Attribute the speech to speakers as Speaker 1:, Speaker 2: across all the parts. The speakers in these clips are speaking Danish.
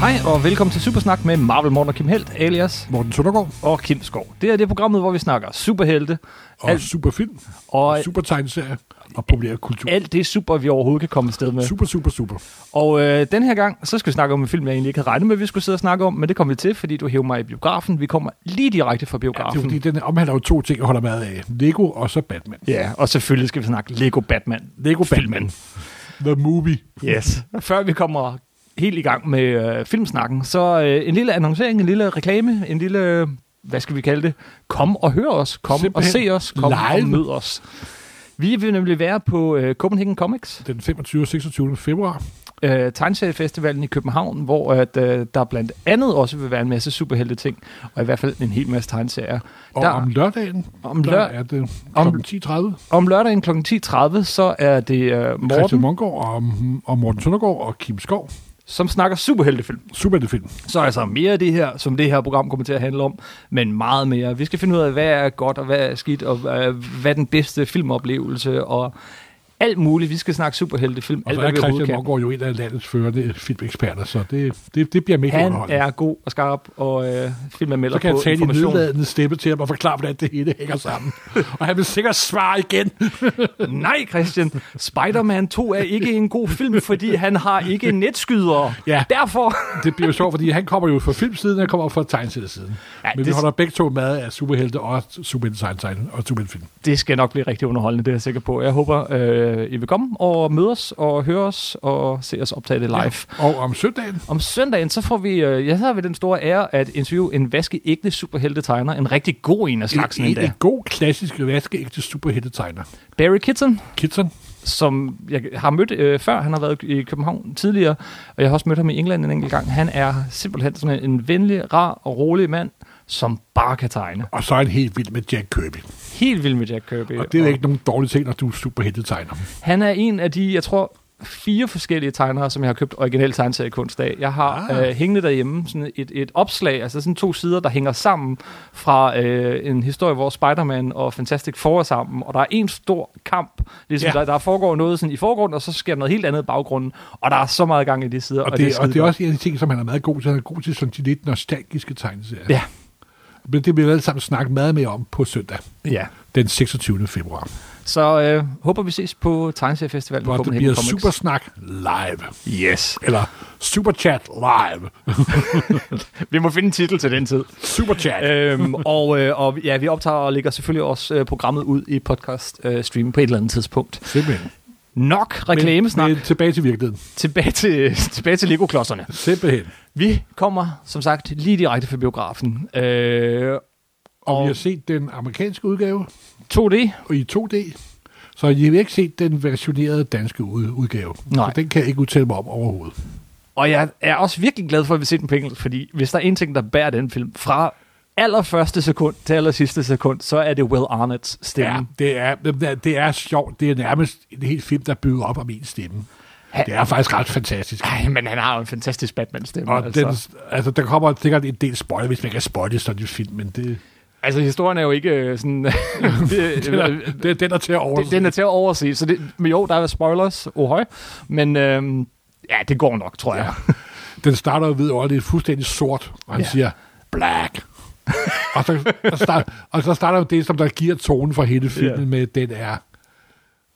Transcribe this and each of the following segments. Speaker 1: Hej og velkommen til Supersnak med Marvel Morten og Kim Helt, alias
Speaker 2: Morten Søndergaard
Speaker 1: og Kim Skov. Det er det programmet, hvor vi snakker superhelte
Speaker 2: og
Speaker 1: Alt-
Speaker 2: Alt. superfilm
Speaker 1: og
Speaker 2: og super tegneserie og populærkultur.
Speaker 1: alt det super, vi overhovedet kan komme afsted med.
Speaker 2: Super, super, super.
Speaker 1: Og øh, den her gang, så skal vi snakke om en film, jeg egentlig ikke havde regnet med, vi skulle sidde og snakke om, men det kom vi til, fordi du hævde mig i biografen. Vi kommer lige direkte fra
Speaker 2: Det er
Speaker 1: biografen.
Speaker 2: fordi, den omhandler jo to ting, jeg holder meget af. Lego og så Batman.
Speaker 1: Ja, og selvfølgelig skal vi snakke Lego Batman.
Speaker 2: Lego Batman. The movie.
Speaker 1: Yes. Før vi kommer helt i gang med øh, filmsnakken, så øh, en lille annoncering, en lille reklame, en lille, øh, hvad skal vi kalde det? Kom og hør os, kom og
Speaker 2: Simpelthen
Speaker 1: se os, kom
Speaker 2: live.
Speaker 1: og mød os. Vi vil nemlig være på øh, Copenhagen Comics,
Speaker 2: Den 25. og 26. februar.
Speaker 1: øh, tegnseriefestivalen i København, hvor at, øh, der blandt andet også vil være en masse superhelte ting, og i hvert fald en hel masse tegneserier.
Speaker 2: Og
Speaker 1: Der-
Speaker 2: der. om lørdagen,
Speaker 1: Om
Speaker 2: der
Speaker 1: lør-
Speaker 2: er det
Speaker 1: om-
Speaker 2: om 10.30.
Speaker 1: Om lørdagen kl. 10.30, så er det øh,
Speaker 2: Christian
Speaker 1: Morten,
Speaker 2: Mongård og, og Morten Søndergaard og Kim Skov.
Speaker 1: som snakker superheltefilm.
Speaker 2: Superheltefilm.
Speaker 1: Så er altså mere af det her, som det her program kommer til at handle om, men meget mere. Vi skal finde ud af, hvad er godt og hvad er skidt, og øh, hvad er den bedste filmoplevelse, og alt muligt. Vi skal snakke superheltefilm.
Speaker 2: Og
Speaker 1: alt,
Speaker 2: så
Speaker 1: hvad
Speaker 2: er
Speaker 1: vi overhovedet
Speaker 2: Christian
Speaker 1: kan.
Speaker 2: Mongård jo en af landets førende filmeksperter, så det, det, det bliver mega
Speaker 1: Han
Speaker 2: underholdende.
Speaker 1: er god og skarp, og øh, filmanmelder
Speaker 2: Så kan
Speaker 1: på
Speaker 2: jeg tale i en
Speaker 1: information.
Speaker 2: nedladende stemme til ham og forklare, hvordan det hele hænger sammen. og han vil sikkert svare igen.
Speaker 1: Nej, Christian. Spider-Man 2 er ikke en god film, fordi han har ikke netskydere.
Speaker 2: Ja.
Speaker 1: Derfor...
Speaker 2: Det bliver jo sjovt, fordi han kommer jo fra filmsiden, han kommer fra tegneseriesiden.
Speaker 1: Ja,
Speaker 2: Ja, Men
Speaker 1: det-
Speaker 2: vi holder begge to med af superhelte og superhelte og superheltefilm.
Speaker 1: Det skal nok blive rigtig underholdende, det er jeg sikker på. Jeg håber, øh, I vil komme og møde os og høre os og se os optage det live. Ja.
Speaker 2: Og om søndagen,
Speaker 1: Om søndagen, så får vi, øh, jeg havde ved den store ære at interviewe en vaskeægte superheltetegner. En rigtig god en af slagsen
Speaker 2: en, en,
Speaker 1: endda.
Speaker 2: en god klassisk vaskeægte superheltetegner.
Speaker 1: Barry Kitson,
Speaker 2: Kitson,
Speaker 1: som jeg har mødt øh, før. Han har været i København tidligere, og jeg har også mødt ham i England en enkelt gang. Han er simpelthen sådan en venlig, rar og rolig mand, som bare kan tegne.
Speaker 2: og så er han helt vild med Jack Kirby.
Speaker 1: Helt vild med Jack Kirby.
Speaker 2: Og det er jo ikke nogen dårlige ting, når du er superheltetegner.
Speaker 1: Han er en af de, jeg tror, fire forskellige tegnere, som jeg har købt original tegneseriekunst af. Jeg har ah.
Speaker 2: Ah.
Speaker 1: øh, hængende derhjemme sådan et, et opslag, altså sådan to sider, der hænger sammen fra øh, en historie, hvor Spider-Man og Fantastic Four er sammen, og der er en stor kamp. Ligesom ja.
Speaker 2: Ja.
Speaker 1: der, der foregår noget sådan i forgrunden, og så sker der noget helt andet i baggrunden, og der er så meget gang i de sider.
Speaker 2: Og, og, det, og det er
Speaker 1: skidegodt.
Speaker 2: også en af de ting, som han er meget god til. Han er god til sådan de lidt nostalgiske tegneserier.
Speaker 1: Ja.
Speaker 2: Men det vil vi alle sammen snakke meget mere om på søndag,
Speaker 1: Ja.
Speaker 2: den 26. februar.
Speaker 1: Så øh, håber vi ses på Tegneseriefestivalen.
Speaker 2: Hvor
Speaker 1: på
Speaker 2: det bliver Supersnak live.
Speaker 1: Yes.
Speaker 2: Eller Superchat live.
Speaker 1: Vi må finde en titel til den tid.
Speaker 2: Superchat.
Speaker 1: øhm, og, øh, og ja, vi optager og lægger selvfølgelig også øh, programmet ud i podcast øh, stream på et eller andet tidspunkt.
Speaker 2: Simpelthen.
Speaker 1: Nok reklamesnak.
Speaker 2: Men, men tilbage til virkeligheden.
Speaker 1: Tilbage til, tilbage til Lego-klodserne.
Speaker 2: Simpelthen.
Speaker 1: Vi kommer, som sagt, lige direkte fra biografen. Øh,
Speaker 2: Og,
Speaker 1: Og-
Speaker 2: og vi har set den amerikanske udgave
Speaker 1: 2D?
Speaker 2: og i 2D. Så I har ikke set den versionerede danske ud- udgave.
Speaker 1: Nej.
Speaker 2: Så den kan jeg ikke udtale mig om overhovedet.
Speaker 1: Og jeg er også virkelig glad for, at vi ser den på engelsk, fordi hvis der er en ting, der bærer den film fra allerførste sekund til aller sidste sekund, så er det Will Arnett's stemme. Ja.
Speaker 2: det er, det er- det er sjovt. Det er nærmest en hel film, der bygger op om en stemme.
Speaker 1: Ha-
Speaker 2: Det er faktisk ret fantastisk.
Speaker 1: Ej, men han har jo en fantastisk Batman-stemme.
Speaker 2: Og altså. Den, altså, der kommer sikkert en del spoiler, hvis man kan spoile sådan en film, men det,
Speaker 1: altså, historien er jo ikke øh, sådan... det,
Speaker 2: den, er, det, den er til
Speaker 1: det,
Speaker 2: at overse.
Speaker 1: den er til at overse, så det, men jo, der er spoilers, ohøj, men øhm, ja, det går nok, tror ja. jeg.
Speaker 2: den starter jo ved, og det er fuldstændig sort, og han
Speaker 1: Ja.
Speaker 2: ja. siger, black. og, så, så start, og så starter det, som der giver tonen for hele filmen
Speaker 1: Ja.
Speaker 2: ja. med, at den er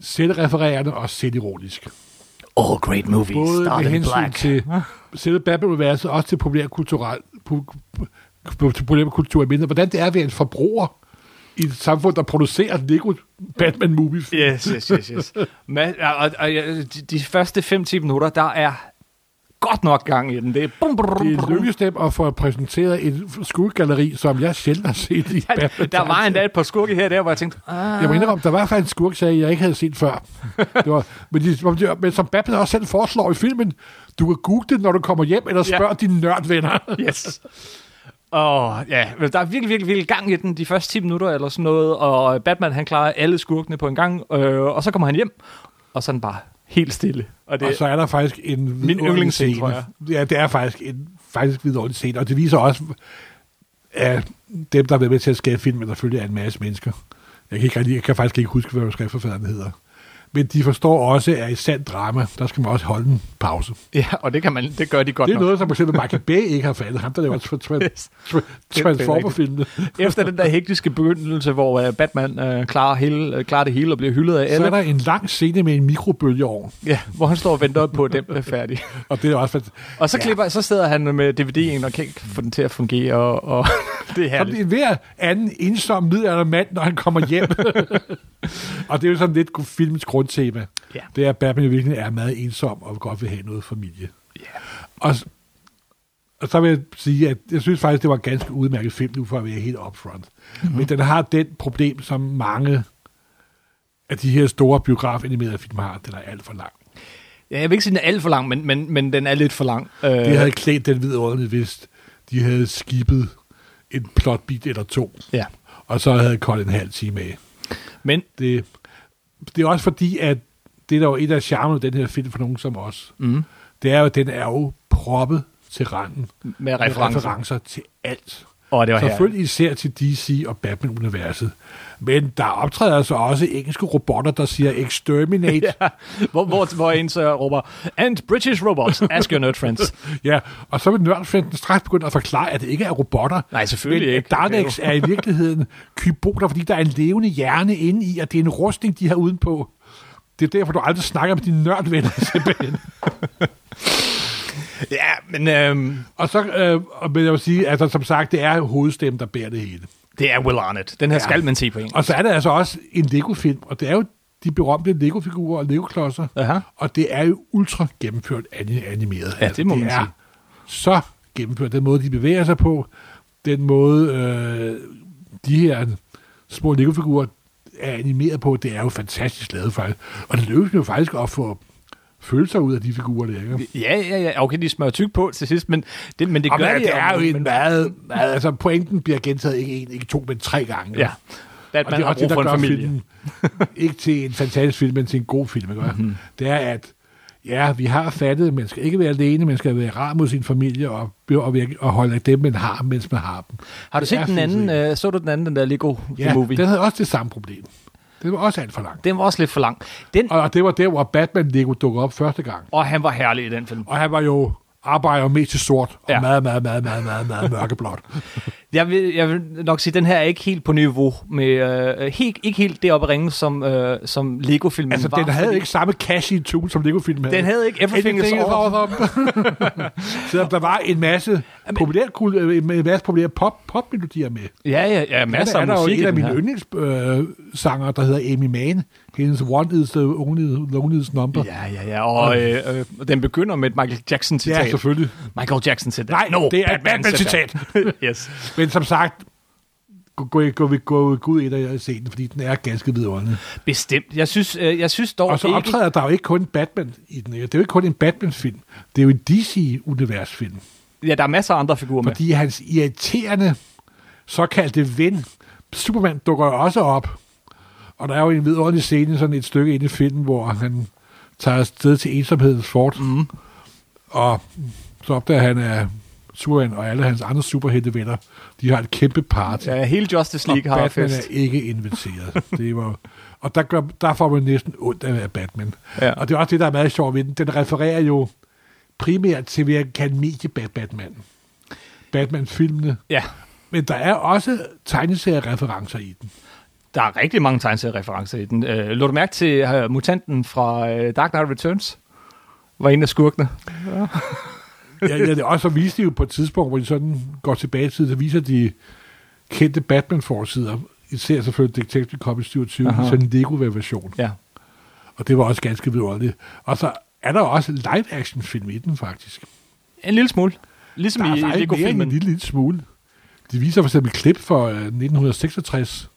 Speaker 2: selvrefererende og selvironisk.
Speaker 1: All great movies
Speaker 2: Både
Speaker 1: start
Speaker 2: med
Speaker 1: in
Speaker 2: hensyn
Speaker 1: black.
Speaker 2: black. til selve Babel-universet, også til populærkulturel, pu- pu- til populærkultur i mindre. Hvordan det er ved en forbruger i et samfund, der producerer Lego Batman Movie.
Speaker 1: Yes, yes, yes, yes. Men, og, og, og, ja, de, de første 5-10 minutter, der er godt nok gang i den. Det er bum, brum, brum,
Speaker 2: Det
Speaker 1: brum.
Speaker 2: lykkedes dem at få præsenteret et skuegalleri, som jeg sjældent har set i Batman.
Speaker 1: Der var endda et par skurke her og der, hvor jeg tænkte, ah,
Speaker 2: Jeg må indrømme, der var faktisk en skurkserie, jeg ikke havde set før. Det var, men, de, men som Batman også selv foreslår i filmen, du kan google det, når du kommer hjem, eller
Speaker 1: Ja.
Speaker 2: spørg ja. dine nørdvenner.
Speaker 1: yes. Og ja, men der er virkelig, virkelig, virkelig gang i den de første 10 minutter eller sådan noget, og Batman han klarer alle skurkene på en gang, øh, og så kommer han hjem, og så er den bare helt stille.
Speaker 2: Det, og så er der faktisk en vidunderlig
Speaker 1: yndlingsscene,
Speaker 2: scene.
Speaker 1: tror jeg.
Speaker 2: Ja, det er faktisk en faktisk vidunderlig scene, og det viser også, at dem, der har været med til at skabe filmen, der selvfølgelig er en masse mennesker. Jeg kan, ikke, rigtig- jeg kan faktisk ikke huske, hvad manuskriptforfatteren hedder. men de forstår også, at i sand drama, der skal man også holde en pause.
Speaker 1: Ja, og det, kan man, det gør de godt
Speaker 2: Det er
Speaker 1: nok.
Speaker 2: noget, som for eksempel Michael Bay ikke har faldet. Ham, der laver tra- tra-
Speaker 1: Yes.
Speaker 2: tra- Transformer-filmene.
Speaker 1: Efter den der hektiske begyndelse, hvor øh, Batman øh, klarer, hele, øh, klarer det hele og bliver hyldet af
Speaker 2: Så er
Speaker 1: alle,
Speaker 2: der en lang scene med en mikrobølgeovn,
Speaker 1: ja, hvor han står og venter på, at den bliver færdig.
Speaker 2: og det er også fant-
Speaker 1: Og så, klipper, så sidder han med DVD'en og kan ikke få den til at fungere, og, og det er
Speaker 2: Som
Speaker 1: herligt.
Speaker 2: en hver anden ensom middelalder mand, når han kommer hjem. og det er jo sådan lidt filmens grundtema.
Speaker 1: Ja.
Speaker 2: Det er, at Batman i virkeligheden er meget ensom og godt vil have noget familie.
Speaker 1: Ja.
Speaker 2: Og, s- og så vil jeg sige, at jeg synes faktisk, det var en ganske udmærket film, nu for at være helt upfront. Mm-hmm. Men den har den problem, som mange af de her store biografanimerede film har, den er alt for lang.
Speaker 1: Ja, jeg vil ikke sige, den er alt for lang, men, men, men den er lidt for lang. Øh,
Speaker 2: Det havde klædt den vidunderligt, hvis de havde skibet en plotbit eller to,
Speaker 1: ja.
Speaker 2: og så havde koldt en halv time af.
Speaker 1: Men
Speaker 2: det, det er også fordi, at det der jo et af charmen ved den her film for nogen som os,
Speaker 1: mm,
Speaker 2: det er jo, at den er jo proppet til randen.
Speaker 1: med
Speaker 2: Med
Speaker 1: referencer.
Speaker 2: referencer til alt.
Speaker 1: Og det var her.
Speaker 2: Selvfølgelig især til DC og Batman-universet. Men der optræder altså også engelske robotter, der siger exterminate. ja.
Speaker 1: Hvor, hvor, hvor en så råber, and British robots, ask your nerd friends.
Speaker 2: ja. Og så vil nørdfrienden straks begynde at forklare, at det ikke er robotter.
Speaker 1: Nej, selvfølgelig
Speaker 2: men,
Speaker 1: ikke.
Speaker 2: at Daleks er i virkeligheden kyboter, fordi der er en levende hjerne inde i, og det er en rustning, de har udenpå. Det er derfor, du aldrig snakker med dine nørdvenner, simpelthen.
Speaker 1: Ja, men øhm,
Speaker 2: Og så øh, og- men jeg vil sige, altså som sagt, det er hovedstemmen, der bærer det hele.
Speaker 1: det er Will Arnett. Den her
Speaker 2: Ja.
Speaker 1: ja. skal man se på en.
Speaker 2: Og så er det altså også en Lego-film, og det er jo de berømte Lego-figurer og Lego-klodser,
Speaker 1: Aha.
Speaker 2: og det er jo ultra gennemført ani- animeret.
Speaker 1: Ja, det må
Speaker 2: det
Speaker 1: man
Speaker 2: er
Speaker 1: sige.
Speaker 2: så gennemført. Den måde, de bevæger sig på, den måde, øh, de her små Lego-figurer er animeret på, det er jo fantastisk lavet faktisk. Og det lykkes jo faktisk at få følelser ud af de figurer, der ikke?
Speaker 1: Ja, ja, ja. Okay, de smører tyk på til sidst, men det, men det
Speaker 2: Og
Speaker 1: gør
Speaker 2: men,
Speaker 1: de
Speaker 2: det er jo en
Speaker 1: men,
Speaker 2: meget, meget, altså pointen bliver gentaget ikke en, ikke to, men tre gange.
Speaker 1: Ja.
Speaker 2: Og
Speaker 1: Batman
Speaker 2: det er
Speaker 1: har
Speaker 2: også
Speaker 1: brug
Speaker 2: det,
Speaker 1: for
Speaker 2: der
Speaker 1: en
Speaker 2: gør
Speaker 1: familie. Mhm.
Speaker 2: filmen, ikke til en fantastisk film, men til en god film, ikke? Mm-hmm. Det er, at ja, vi har fattet, at man skal ikke være alene, man skal være rar mod sin familie og, og, virke- og holde af dem, man har, mens man har dem.
Speaker 1: Har du
Speaker 2: Det
Speaker 1: set
Speaker 2: er
Speaker 1: den anden,
Speaker 2: fint,
Speaker 1: øh, så du den anden, den der Lego
Speaker 2: Ja,
Speaker 1: The Movie?
Speaker 2: den
Speaker 1: Den,
Speaker 2: havde også det samme problem. Det var også alt for langt.
Speaker 1: den var også lidt for lang. Den, og,
Speaker 2: Og det var der, hvor Batman Lego dukkede op første gang.
Speaker 1: og han var herlig i den film.
Speaker 2: Og han var jo arbejder jo mest til sort, og
Speaker 1: Ja.
Speaker 2: meget, meget, meget, meget, meget, meget mørkeblåt.
Speaker 1: Jeg vil, jeg vil nok sige, at den her er ikke helt på niveau med... Øh, helt, ikke helt deroppe at ringe, som, øh, som Lego-filmen
Speaker 2: Altså,
Speaker 1: var.
Speaker 2: den havde
Speaker 1: fordi-
Speaker 2: ikke samme cash in tune, som Lego-filmen havde.
Speaker 1: Den havde ikke Everything is
Speaker 2: Everything is
Speaker 1: Awesome.
Speaker 2: awesome. Så der var en masse populære, kul- øh, en masse populære pop, popmelodier med.
Speaker 1: Ja, ja, ja. Masser
Speaker 2: er der,
Speaker 1: af
Speaker 2: er der
Speaker 1: musik
Speaker 2: jo en
Speaker 1: i
Speaker 2: af
Speaker 1: den
Speaker 2: mine
Speaker 1: her.
Speaker 2: yndlingssanger, der hedder Amy Mann. Hendes One is the only, loneliest number.
Speaker 1: Ja, ja, ja. Og øh, øh, den begynder med et Michael Jackson-citat.
Speaker 2: ja selvfølgelig.
Speaker 1: Michael Jackson-citat.
Speaker 2: Nej,
Speaker 1: no,
Speaker 2: det er et Batman-citat.
Speaker 1: yes.
Speaker 2: Men som sagt, gå, gå, gå, gå, gå, gå ud ind og se den, fordi den er ganske vidunderlig.
Speaker 1: Bestemt. Jeg synes, øh, jeg synes dog
Speaker 2: Og så
Speaker 1: ikke...
Speaker 2: optræder der jo ikke kun Batman i den. Det er jo ikke kun en Batman-film. Det er jo en DC-univers-film.
Speaker 1: Ja, der er masser af andre figurer med.
Speaker 2: Fordi hans irriterende såkaldte ven, Superman, dukker jo også op. Og der er jo en vidunderlig scene, sådan et stykke inde i filmen, hvor han tager afsted til ensomhedens fort. Mm. Og så opdager han, at Superman og alle hans andre superheltevenner, de har et kæmpe party.
Speaker 1: Ja, hele Justice
Speaker 2: og
Speaker 1: League har
Speaker 2: Batman
Speaker 1: fest.
Speaker 2: er ikke inviteret. det var, og der, gør, der får man næsten ondt af at være Batman.
Speaker 1: Ja.
Speaker 2: Og det er også det, der er meget sjovt ved den. Den refererer jo primært til, hvad jeg kan medie-Batman. Batman-filmene.
Speaker 1: Ja,
Speaker 2: Men der er også tegneseriereferencer i den.
Speaker 1: der er rigtig mange tegneseriereferencer i den. Øh, lå du mærke til uh, mutanten fra uh, Dark Knight Returns? Var en af skurkene.
Speaker 2: Ja, ja, det også og viste de jo på et tidspunkt, hvor de sådan går tilbage i tiden, så viser de kendte Batman-forsider. Især selvfølgelig Detective Comics 27,
Speaker 1: Aha.
Speaker 2: Aha. sådan en Lego-version.
Speaker 1: Ja.
Speaker 2: Og det var også ganske vidunderligt. Og så er der også live-action-film i den, faktisk.
Speaker 1: En lille smule. Ligesom
Speaker 2: Der er
Speaker 1: i
Speaker 2: faktisk mere end en
Speaker 1: Lego-filmen.
Speaker 2: lille, lille smule. De viser for eksempel et klip fra øh, 1966,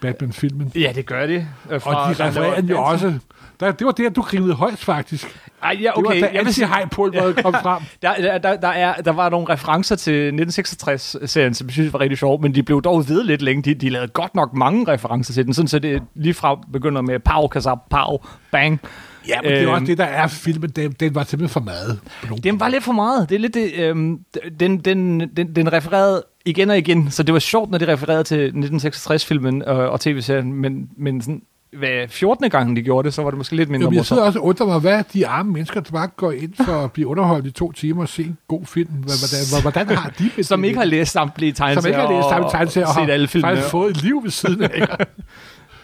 Speaker 2: Batman-filmen.
Speaker 1: Ja, det gør det. Øh,
Speaker 2: Og de
Speaker 1: der laver
Speaker 2: refererer den jo
Speaker 1: dansen.
Speaker 2: også. Der, det var der, du grinede højst, faktisk. Okay,
Speaker 1: Ej, ja,
Speaker 2: det var
Speaker 1: okay.
Speaker 2: da
Speaker 1: Jeg vil sige,
Speaker 2: anti-hejpulveret kom frem.
Speaker 1: der, der, der, der, er, der var nogle referencer til 1966-serien, som jeg synes var rigtig sjov, men de blev dog ved lidt længe. De, de lavede godt nok mange referencer til den, sådan så det lige fra begynder med pow, kasab, pow, bang.
Speaker 2: Ja, men det er jo
Speaker 1: Øhm.
Speaker 2: også det, der er filmen. Den, den var simpelthen for meget. på nogle
Speaker 1: Den var lidt for meget. Det er lidt det, øhm, den, den, den, den refererede igen og igen, så det var sjovt, når de refererede til 1966-filmen øh, og tv-serien, men, men sådan, hvad 14. gangen de gjorde det, så var det måske lidt mindre
Speaker 2: Jamen, jeg sidder
Speaker 1: morsomt.
Speaker 2: også og undrer mig, hvad de arme mennesker, der bare går ind for at blive underholdt i to timer og se en god film. Hvad- Hvordan, hvordan har de det?
Speaker 1: Som ikke har læst samtlige tegneserier
Speaker 2: som ikke har læst samme
Speaker 1: og-
Speaker 2: tegneserier
Speaker 1: og
Speaker 2: og
Speaker 1: set alle
Speaker 2: har
Speaker 1: filmene.
Speaker 2: faktisk fået et liv ved siden af.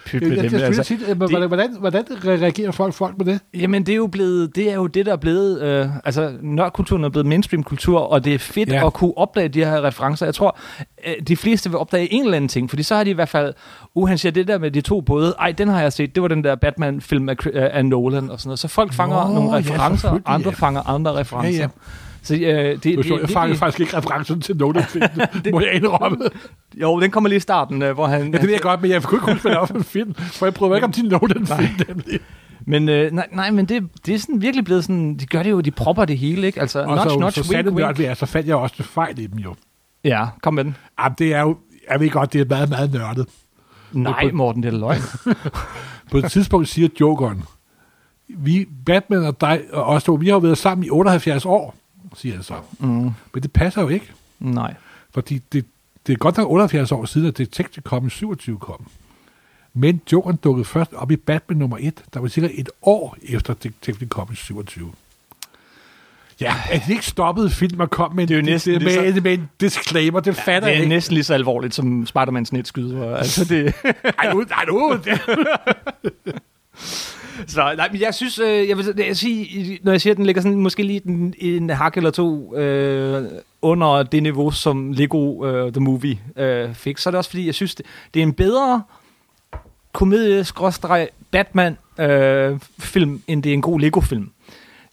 Speaker 1: Pyt med
Speaker 2: jeg, jeg,
Speaker 1: dem,
Speaker 2: jeg, jeg,
Speaker 1: altså.
Speaker 2: altså, sige, men, hvordan, hvordan, hvordan re- reagerer folk, folk på det?
Speaker 1: Jamen, det er jo, blevet, det, er jo det, der er blevet... Øh, altså, nørkulturen er blevet mainstream-kultur, og det er fedt ja.
Speaker 2: Ja.
Speaker 1: at kunne opdage de her referencer. Jeg tror, øh, de fleste vil opdage en eller anden ting, fordi så har de i hvert fald... Uh, han siger det der med de to både. Ej, den har jeg set. Det var den der Batman-film af, Cri- øh, af Nolan og sådan noget. Så folk fanger
Speaker 2: Nå,
Speaker 1: nogle
Speaker 2: ja,
Speaker 1: referencer, og
Speaker 2: selvfølgelig,
Speaker 1: andre
Speaker 2: ja.
Speaker 1: fanger andre referencer. Ja, ja.
Speaker 2: Ja, ja.
Speaker 1: Så øh, det, det,
Speaker 2: Det, det, jeg
Speaker 1: virkelig-
Speaker 2: fangede faktisk ikke referencen til Nolan det, må jeg indrømme.
Speaker 1: Jo, den kommer lige i starten, øh, hvor han...
Speaker 2: Ja, det ved jeg godt, men jeg kunne ikke huske, hvad der var for en film, for jeg prøvede ikke, om de Nolan film nemlig.
Speaker 1: Men øh, nej, nej, men det, det er sådan virkelig blevet sådan... De gør det jo, de propper det hele, ikke? Altså,
Speaker 2: Og
Speaker 1: notch,
Speaker 2: så,
Speaker 1: notch,
Speaker 2: så
Speaker 1: wink,
Speaker 2: sandt nørd
Speaker 1: wink.
Speaker 2: vi er, så fandt jeg også det fejl i dem jo.
Speaker 1: Ja, kom med den.
Speaker 2: Jamen, det er jo, jeg ved godt, det er meget, meget nørdet.
Speaker 1: Nej, Morten, det er da løgn.
Speaker 2: På et tidspunkt siger Jokeren, vi, Batman og dig og os to, vi har jo været sammen i 78 år, siger han så. Mm. Men det passer jo ikke,
Speaker 1: Nej.
Speaker 2: fordi det, det er godt nok 78 år siden, at Detective Comics 27 kom. Men Jokeren dukkede først op i Batman nummer 1, der var cirka et år efter Detective Comics 27. Ja, at de ikke stoppede film og kom med, en-
Speaker 1: Det er jo næsten
Speaker 2: med,
Speaker 1: lige
Speaker 2: med, med en disclaimer, det fatter
Speaker 1: Det
Speaker 2: jeg
Speaker 1: er
Speaker 2: ikke.
Speaker 1: næsten lige så alvorligt som Spider-Man snitskyder. Altså det,
Speaker 2: Ej, nu, ej, nu, det,
Speaker 1: så, nej, men jeg synes, øh, jeg vil, jeg sige, når jeg siger, at den ligger sådan, måske lige en, en hak eller to øh, under det niveau, som Lego øh, The Movie øh, fik, så er det også fordi, jeg synes, det, det er en bedre komedie-Batman-film, øh, film, end det er en god Lego-film.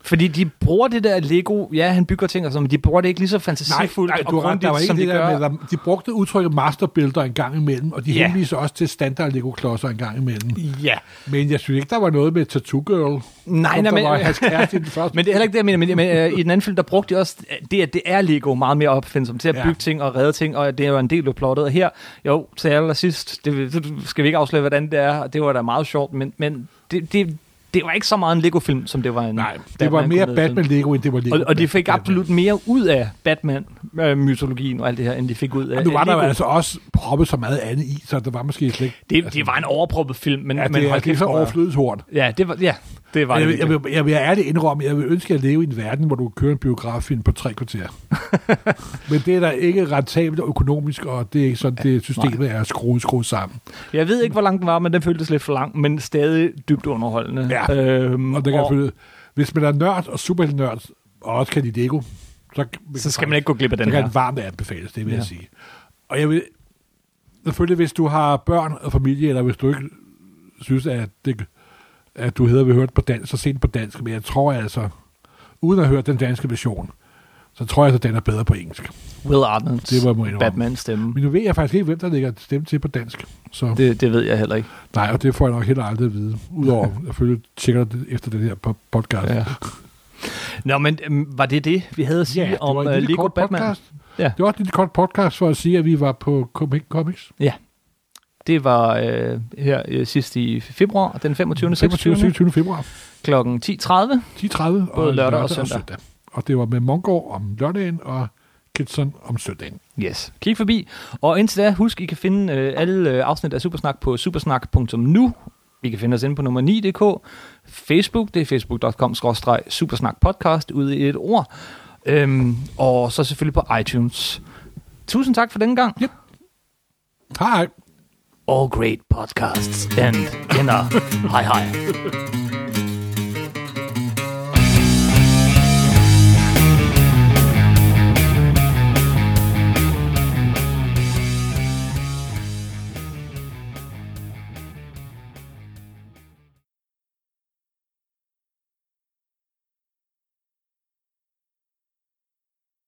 Speaker 1: Fordi de bruger det der Lego, ja, han bygger ting og sådan, men de bruger det ikke lige så fantasifuldt
Speaker 2: nej,
Speaker 1: og
Speaker 2: du har ret,
Speaker 1: grundigt,
Speaker 2: der var ikke
Speaker 1: som
Speaker 2: det
Speaker 1: de gør.
Speaker 2: der med, der, de brugte udtrykket masterbuilder en gang imellem, og de
Speaker 1: Ja.
Speaker 2: yeah. henviser også til standard Lego-klodser en gang imellem.
Speaker 1: Ja,
Speaker 2: Men jeg synes ikke, der var noget med Tattoo Girl,
Speaker 1: nej,
Speaker 2: som
Speaker 1: nej,
Speaker 2: der
Speaker 1: men,
Speaker 2: var hans kæreste i den første.
Speaker 1: Men det er heller ikke det, jeg mener. Men, men øh, i den anden film, der brugte de også det, at det er Lego meget mere opfindsomt til at
Speaker 2: Ja.
Speaker 1: bygge ting og redde ting, og det er jo en del af plottet. Og her, jo, til allersidst, det det skal vi ikke afsløre, hvordan det er, og det var da meget sjovt, men, men det, det, det var ikke så meget en Lego-film, som det var en
Speaker 2: Nej, det var mere
Speaker 1: komediefilm.
Speaker 2: Batman-Lego, end det var Lego.
Speaker 1: Og, og de fik
Speaker 2: Batman.
Speaker 1: absolut mere ud af Batman-mytologien og alt det her, end de fik ud af
Speaker 2: Nu var
Speaker 1: af
Speaker 2: der jo
Speaker 1: Lego.
Speaker 2: altså også proppet så meget andet i, så der var måske slet ikke... Altså,
Speaker 1: det, det var en overproppet film, men,
Speaker 2: Ja,
Speaker 1: men
Speaker 2: det, er,
Speaker 1: hold
Speaker 2: det er
Speaker 1: kæft,
Speaker 2: så
Speaker 1: hvor-
Speaker 2: overflødigt hårdt.
Speaker 1: Ja, det var, ja, det var
Speaker 2: Jeg,
Speaker 1: det.
Speaker 2: vil- jeg,
Speaker 1: virkelig.
Speaker 2: vil, jeg vil ærligt indrømme, jeg vil ønske at leve i en verden, hvor du kan køre en biograffilm på tre kvarter. Men det er da ikke rentabelt og økonomisk, og det er ikke sådan, det systemet er skruet, skruet sammen.
Speaker 1: Jeg ved ikke, hvor lang den var, men den føltes lidt for lang, men stadig dybt underholdende.
Speaker 2: Ja,
Speaker 1: øhm,
Speaker 2: Og det kan jeg følge. Hvis man er nørd og superheltenørd, og også kan lide Lego, så,
Speaker 1: så skal man ikke gå glip af
Speaker 2: den
Speaker 1: den
Speaker 2: kan
Speaker 1: her.
Speaker 2: det varmt anbefales, det vil
Speaker 1: Ja.
Speaker 2: jeg sige. Og jeg vil, selvfølgelig hvis du har børn og familie, eller hvis du ikke synes, at, det, at du hedder vil høre det på dansk, så se den på dansk, men jeg tror altså, uden at høre den danske version, så tror jeg, at den er bedre på engelsk.
Speaker 1: Will Arnolds
Speaker 2: Det var må jeg indrømme.
Speaker 1: Batman stemme.
Speaker 2: Men nu ved jeg faktisk ikke, hvem der lægger stemme til på dansk. Så det.
Speaker 1: Det, det ved jeg heller ikke.
Speaker 2: nej, og det får jeg nok heller aldrig at vide. Udover, at følge tjekker det efter den her po- podcast.
Speaker 1: Ja. Nå, men øhm, var det det, vi havde at sige
Speaker 2: det
Speaker 1: om
Speaker 2: var en
Speaker 1: uh,
Speaker 2: lille
Speaker 1: Lego
Speaker 2: kort
Speaker 1: Batman?
Speaker 2: Podcast.
Speaker 1: Ja.
Speaker 2: Ja. Det var også en lille kort podcast for at sige, at vi var på Comic Comics.
Speaker 1: Det var øh, her øh, sidst i februar, den 25.
Speaker 2: 25.
Speaker 1: 26.
Speaker 2: 27. februar.
Speaker 1: kl. 10.30.
Speaker 2: 10.30.
Speaker 1: Både lørdag og søndag.
Speaker 2: Og det var med Mongård om lørdagen og Kitson om søndagen.
Speaker 1: Yes. Kig forbi. Og indtil da, husk, I kan finde øh, alle øh, afsnit af Supersnak på supersnak.nu. I kan finde os inde på nummer 9.dk. Facebook, det er facebook.com-supersnakpodcast, ude i et ord. Øhm, og så selvfølgelig på iTunes. Tusind tak for denne gang. Yep.
Speaker 2: Hej!
Speaker 1: All great podcasts end in a high high.